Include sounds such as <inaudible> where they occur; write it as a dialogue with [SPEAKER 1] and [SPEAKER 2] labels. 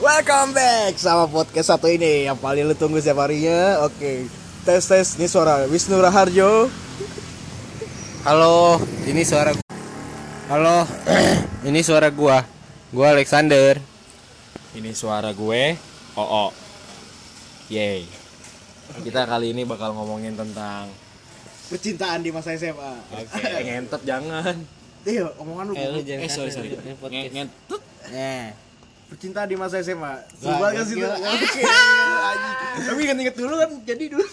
[SPEAKER 1] Welcome back sama podcast satu ini yang paling lu tunggu setiap harinya. Oke, tes tes ini suara Wisnu Raharjo.
[SPEAKER 2] Halo, ini suara gua. Halo, <clears throat> ini suara gua. Gua Alexander.
[SPEAKER 3] Ini suara gue, Oo. Yeay. Kita kali ini bakal ngomongin tentang
[SPEAKER 1] Percintaan di masa SMA.
[SPEAKER 3] Oke, <laughs> ngentot jangan.
[SPEAKER 1] <laughs> Iya, omongan lu.
[SPEAKER 3] Eh, sorry, sorry. Nge- Ngentot.
[SPEAKER 2] ya. Eh,
[SPEAKER 1] Percintaan di masa SMA.
[SPEAKER 2] Wah,
[SPEAKER 1] Coba kan sih.
[SPEAKER 2] gokil. <laughs>
[SPEAKER 1] Oke. Tapi inget-inget dulu kan jadi dulu.